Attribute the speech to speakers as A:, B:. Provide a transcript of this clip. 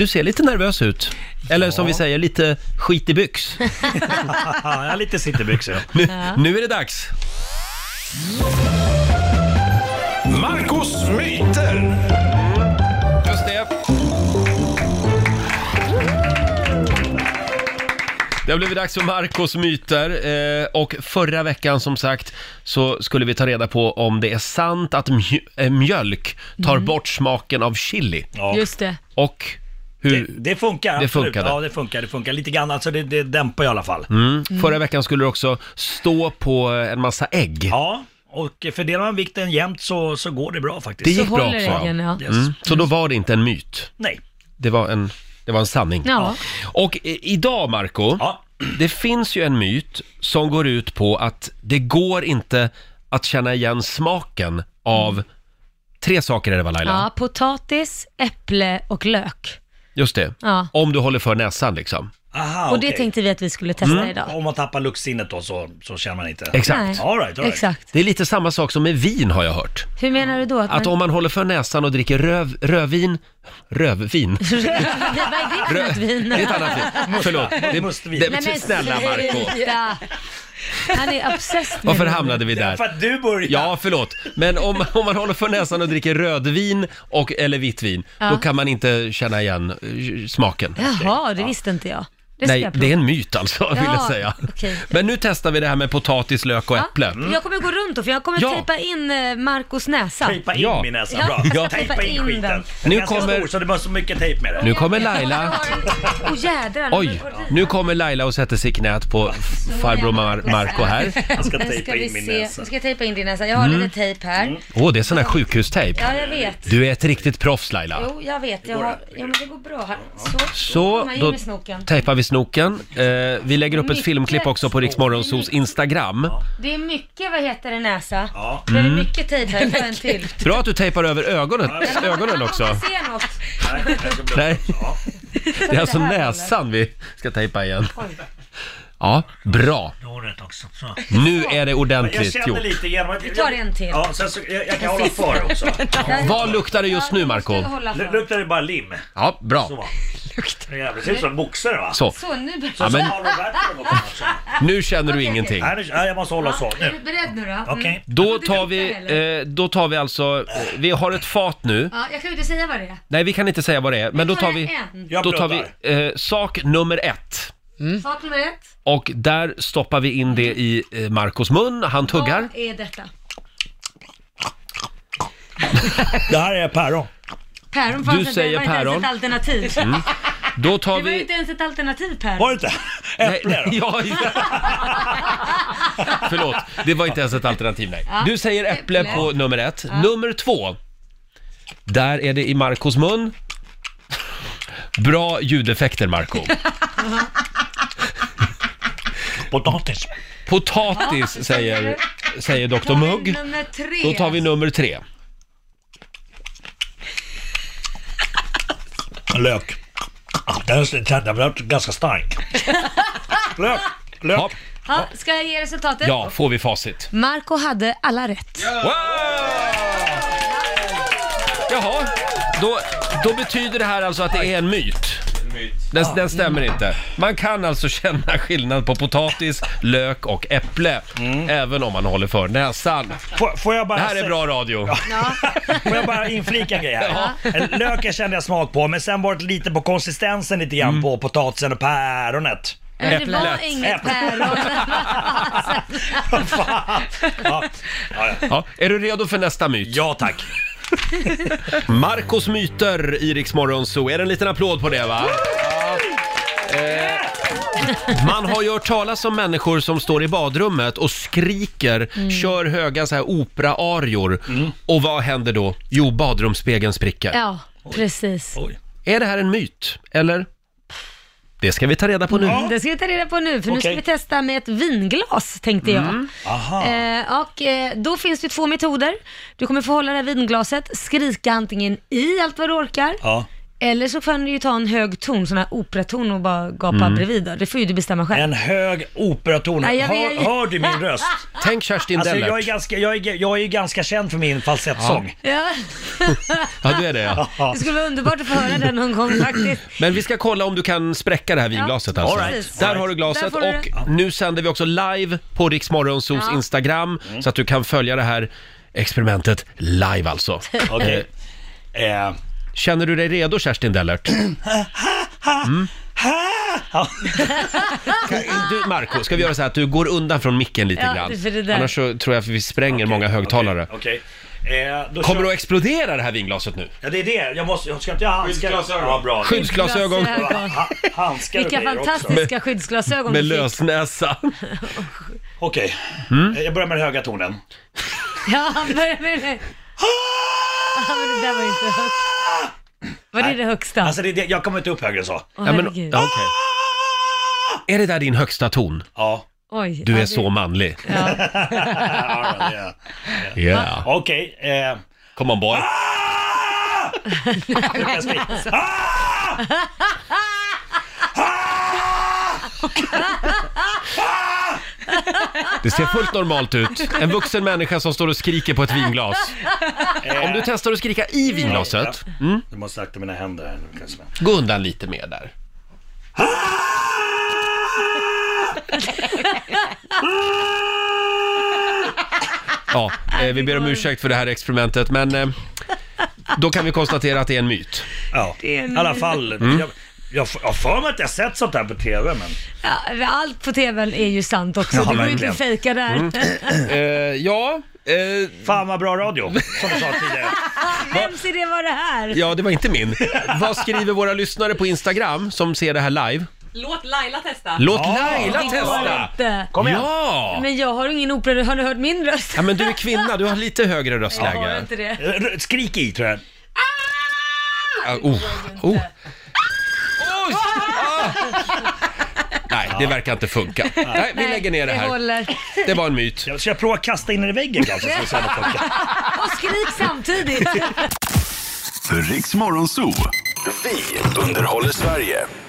A: Du ser lite nervös ut. Eller som vi säger, lite skit i byx.
B: jag har lite sitterbyxor.
A: Nu, nu är det dags.
C: Marcos myter!
A: Just det. Det har blivit dags för Marcos myter eh, och förra veckan som sagt så skulle vi ta reda på om det är sant att mj- eh, mjölk tar bort smaken av chili.
B: Ja.
D: Just det.
A: Och hur...
B: Det, det funkar,
A: Det
B: absolut.
A: funkade.
B: Ja, det funkar, det funkar. Lite grann, alltså det, det dämpar i alla fall.
A: Mm. Förra veckan skulle det också stå på eh, en massa ägg.
B: Ja, och fördelar man vikten jämnt så, så går det bra faktiskt.
A: Det
D: Så
A: gick bra
D: håller
A: också.
D: äggen, ja.
B: Yes.
A: Mm. Så då var det inte en myt.
B: Nej.
A: Det var en, det var en sanning.
D: Ja.
A: Och i- idag, Marco,
B: Ja.
A: det finns ju en myt som går ut på att det går inte att känna igen smaken av tre saker är det va Laila?
D: Mm. ja, potatis, äpple och lök.
A: Just det.
D: Ja.
A: Om du håller för näsan liksom.
B: Aha,
D: Och det
B: okej.
D: tänkte vi att vi skulle testa
A: Mm.
D: idag.
B: Om man tappar luktsinnet då så, så känner man inte.
A: Exakt.
D: Nej.
B: All right, all right.
D: Exakt.
A: Det är lite samma sak som med vin har jag hört.
D: Hur menar du då? Att
A: Att
D: man...
A: om man håller för näsan och dricker röv, rödvin, rödvin,
D: Vad är det för
A: rö,
D: något
A: det är
D: vin?
A: ett annat vin. Förlåt. Det,
B: Mustvin.
A: det,
D: Nej, men
A: snälla Marco.
D: sluta. Han är obsessed med
A: Varför
D: det.
A: hamnade vi där?
B: För att du började.
A: Ja, förlåt. Men om, om man håller för näsan och dricker rödvin och, eller vitt vin,
D: Ja.
A: då kan man inte känna igen eh, smaken.
D: Jaha, det visste inte jag. Det ska
A: Nej,
D: jag prova.
A: det är en myt alltså, vill jag säga.
D: okej.
A: Men nu testar vi det här med potatis, lök och äpple.
D: Ja, Mm. jag kommer gå runt då, för jag kommer
A: Ja.
D: tejpa in eh, Marcos näsa.
B: Tejpa in
A: Ja.
B: min näsa,
D: Ja,
B: bra.
D: ja.
B: Tejpa in skiten. Den är
A: Nu
B: ganska
A: kommer-
B: stor, så det måste mycket tejp med det.
A: Nu kommer Laila.
D: Åh jädrar.
A: Oj, nu kommer Laila och sätter sig i knät på farbror Mar- Marco här.
B: Jag ska
D: Nu ska
B: tejpa
D: vi
B: in min
D: se.
B: näsa.
D: Nu ska jag tejpa in din näsa. Jag har
A: Mm.
D: lite tejp här.
A: Åh, det är sån här sjukhustejp.
D: Ja, jag vet.
A: Du är ett riktigt proffs Laila.
D: Jo, jag vet. Jag har... Ja, men det går bra här. Så.
A: Så,
D: Kom här, ge
A: då
D: mig snoken.
A: tejpar vi snoken. Eh, vi lägger upp ett
D: Mycket
A: filmklipp också på Riksmorgonsos Instagram.
D: Det är mycket, vad heter det, näsa?
B: Ja.
D: Det
A: Mm.
D: är mycket tejp här. Ta en till.
A: Bra att du tejpar över ögonen, ögonen också.
D: Jag ser något.
B: Nej, jag ska blunda.
A: Nej.
B: Ja.
A: Det är alltså
D: Det här
A: näsan vi ska tejpa igen. Ja, bra.
B: Håret också. Så.
A: Nu är det
B: Jag
A: ordentligt
B: känner
A: gjort.
B: lite genom att... Du
D: tar en till.
B: Ja, sen så, jag, jag kan hålla för också.
A: Vad luktar det just nu, Marco?
B: Lu- Luktar det bara lim?
A: Ja,
B: Så
A: bra.
B: va. Luktar. Det ser ut som boxare va?
A: Så,
D: Så, nu börjar
A: Ja, men-
B: Har Roberto något annat sen?
A: nu känner du ingenting.
B: Nej, nu- nej, jag måste hålla så.
D: Är du
B: Nu.
D: beredd nu då? Mm.
B: Okej.
A: Då tar vi, eh, då tar vi alltså, eh, vi har ett fat nu.
D: Ja, jag kan ju inte säga vad det är.
A: Nej, vi kan inte säga vad det är, men då tar vi,
D: En.
B: Jag
A: då tar vi
B: blundar.
A: eh, sak nummer ett.
D: Sak nummer ett.
A: Och där stoppar vi in det i eh, Marcos mun, han tuggar.
D: Vad är detta?
B: Det här är päron.
D: Päron fanns
A: Du
D: inte,
A: säger
D: det var inte
A: päron. Mm.
D: ens ett alternativ.
A: Då tar
D: Det var ju
A: vi...
D: inte ens ett alternativ päron.
B: Var det inte? Äpple
A: Nej,
B: då?
A: ja, ja. Förlåt, det var inte ens ett alternativ nej. Du säger äpple
D: Äpple.
A: på nummer ett. Nummer två. Där är det i Marcos mun. Bra ljudeffekter Marco.
B: Potatis.
A: Potatis säger, säger Dr Mugg.
D: Nummer tre.
A: Då tar vi nummer tre.
B: Lök. Ah, Den är- den blev ganska stark. Lök. Lök.
A: Ja,
D: Ja, ska jag ge resultatet?
A: ja får vi facit.
D: Marco hade alla rätt.
A: Wow! Jaha, då, då betyder det här alltså att det är en myt. Den, den stämmer inte. Man kan alltså känna skillnad på potatis, lök och äpple. Även om man håller för näsan.
B: Får, får jag bara
A: Det här är
B: säga-
A: bra radio.
B: Får jag bara inflika en grej här? Löken kände jag smak på, men sen var det lite på konsistensen lite
A: Mm.
B: grann på potatisen och päronet.
D: Men det var
A: Äpplet.
D: inget
B: Äpple.
D: päron.
B: Fan. ja. Ja, ja.
A: Ja, är du redo för nästa myt?
B: ja tack.
A: Marcos myter i Rix Morgon Zoo. Är det en liten applåd på det va? Ja. Eh, Man har ju hört talas om människor som står i badrummet och skriker, kör höga så här operaarior. Och vad händer då? Jo, badrumsspegeln spricker.
D: Ja, precis.
B: Oj.
A: Är det här en myt? Eller? Det ska vi ta reda på nu.
D: Det ska vi ta reda på nu, för nu ska
B: Okej.
D: vi testa med ett vinglas tänkte jag.
B: Aha.
D: Eh, och eh, då finns det två metoder. Du kommer få hålla det här vinglaset, skrika antingen i allt vad du orkar,
B: Ja.
D: Eller så kan du ju ta en hög ton, sån här operaton och bara gapa bredvid då. Det får ju du bestämma själv.
B: En hög operaton.
D: Nej, jag
B: Hör,
D: vet-
B: hör du min röst?
A: Tänk Kerstin
B: Alltså, jag, är
A: Dellert.
B: ganska, jag, är, jag är ju ganska känd för min falsettsång.
D: Ja,
A: Ja, du är det ja.
D: det skulle vara underbart att få höra den någon gång faktiskt.
A: Men vi ska kolla om du kan spräcka det här vinglaset
D: Ja,
A: alltså.
D: All right.
A: Där har du glaset
D: Där får du
A: och nu sänder vi också live på Rix Morgonzos
D: Ja. Mm.
A: Instagram så att du kan följa det här experimentet live alltså.
B: Okej. Eh,
A: Känner du dig redo Kerstin Dellert? Mm.
B: ja.
A: Kan- Du, Marco, ska vi göra så här att du går undan från micken lite
D: Ja,
A: grann?
D: för det där.
A: Annars så tror jag att vi spränger många högtalare.
B: Okej. Eh, då
A: Kommer
B: kör-
A: du att explodera det här vinglaset nu?
B: Ja, det är det. Jag måste... Jag ska inte ha handskar.
C: Skyddsglasögon.
B: Ja, bra.
A: Skyddsglasögon
D: Glasögon.
B: Ha- Handskar och
D: Vilka
B: grejer också.
D: fantastiska skyddsglasögon
A: med
D: du fick.
A: lösnäsa.
B: Okej.
A: Mm.
B: Eh, Jag börjar med den höga tonen.
D: Ja, han börjar med det. Ja, men det där var inte högt. Var det det högsta?
B: Alltså, det, är det, jag kommer inte upp högre än så.
D: Åh,
A: Ja, men,
D: herregud.
A: ja, okej. Är det där din högsta ton?
B: Ja.
D: Oj,
A: Du
D: ja,
A: är
D: det-
A: så manlig.
D: Ja.
B: ja, ja.
A: Yeah.
B: Okej. Eh,
A: Come on boy.
B: jag ska-
A: Det ser fullt normalt ut. En vuxen människa som står och skriker på ett vinglas. Om du testar att skrika i vinglaset. Mm.
B: Jag måste akta mina händer här nu kanske.
A: Gå undan lite mer där. Ah! Ja, eh, vi ber om ursäkt för det här experimentet men eh, då kan vi konstatera att det är en myt.
B: Ja,
D: Det är en- Mm.
B: i alla fall. Jag, jag, får- jag har för mig att jag sett sånt här på TV, men...
D: Ja, allt på tvn är ju sant också.
B: Ja,
D: det går ju inte
B: verkligen.
D: att fejka där.
A: Eh, ja, eh,
B: Fan vad bra radio, som du sa tidigare.
D: Vems idé var det här?
A: ja, det var inte min. Vad skriver våra lyssnare på Instagram som ser det här live?
E: Låt Laila testa.
A: Låt
B: Ja.
A: Laila
D: Det går
A: testa!
D: inte.
B: Kom igen.
A: Ja!
D: Men jag har ingen opera. Har ni hört min röst?
A: Ja men du är kvinna, du har lite högre
D: Jag har
A: röstläge.
D: inte det.
B: Eh, r- Skrik i tror jag.
A: Ja, oh, oh. Oj! Ah! Nej, det verkar inte funka. Nej, vi lägger ner det
D: Det
A: här.
D: håller.
A: Det var en myt.
B: Jag- Ska jag prova att kasta in den i väggen kanske? Så vi ser om det funkar.
D: Och skrik samtidigt.
C: Riks Morgonzoo. Vi underhåller Sverige.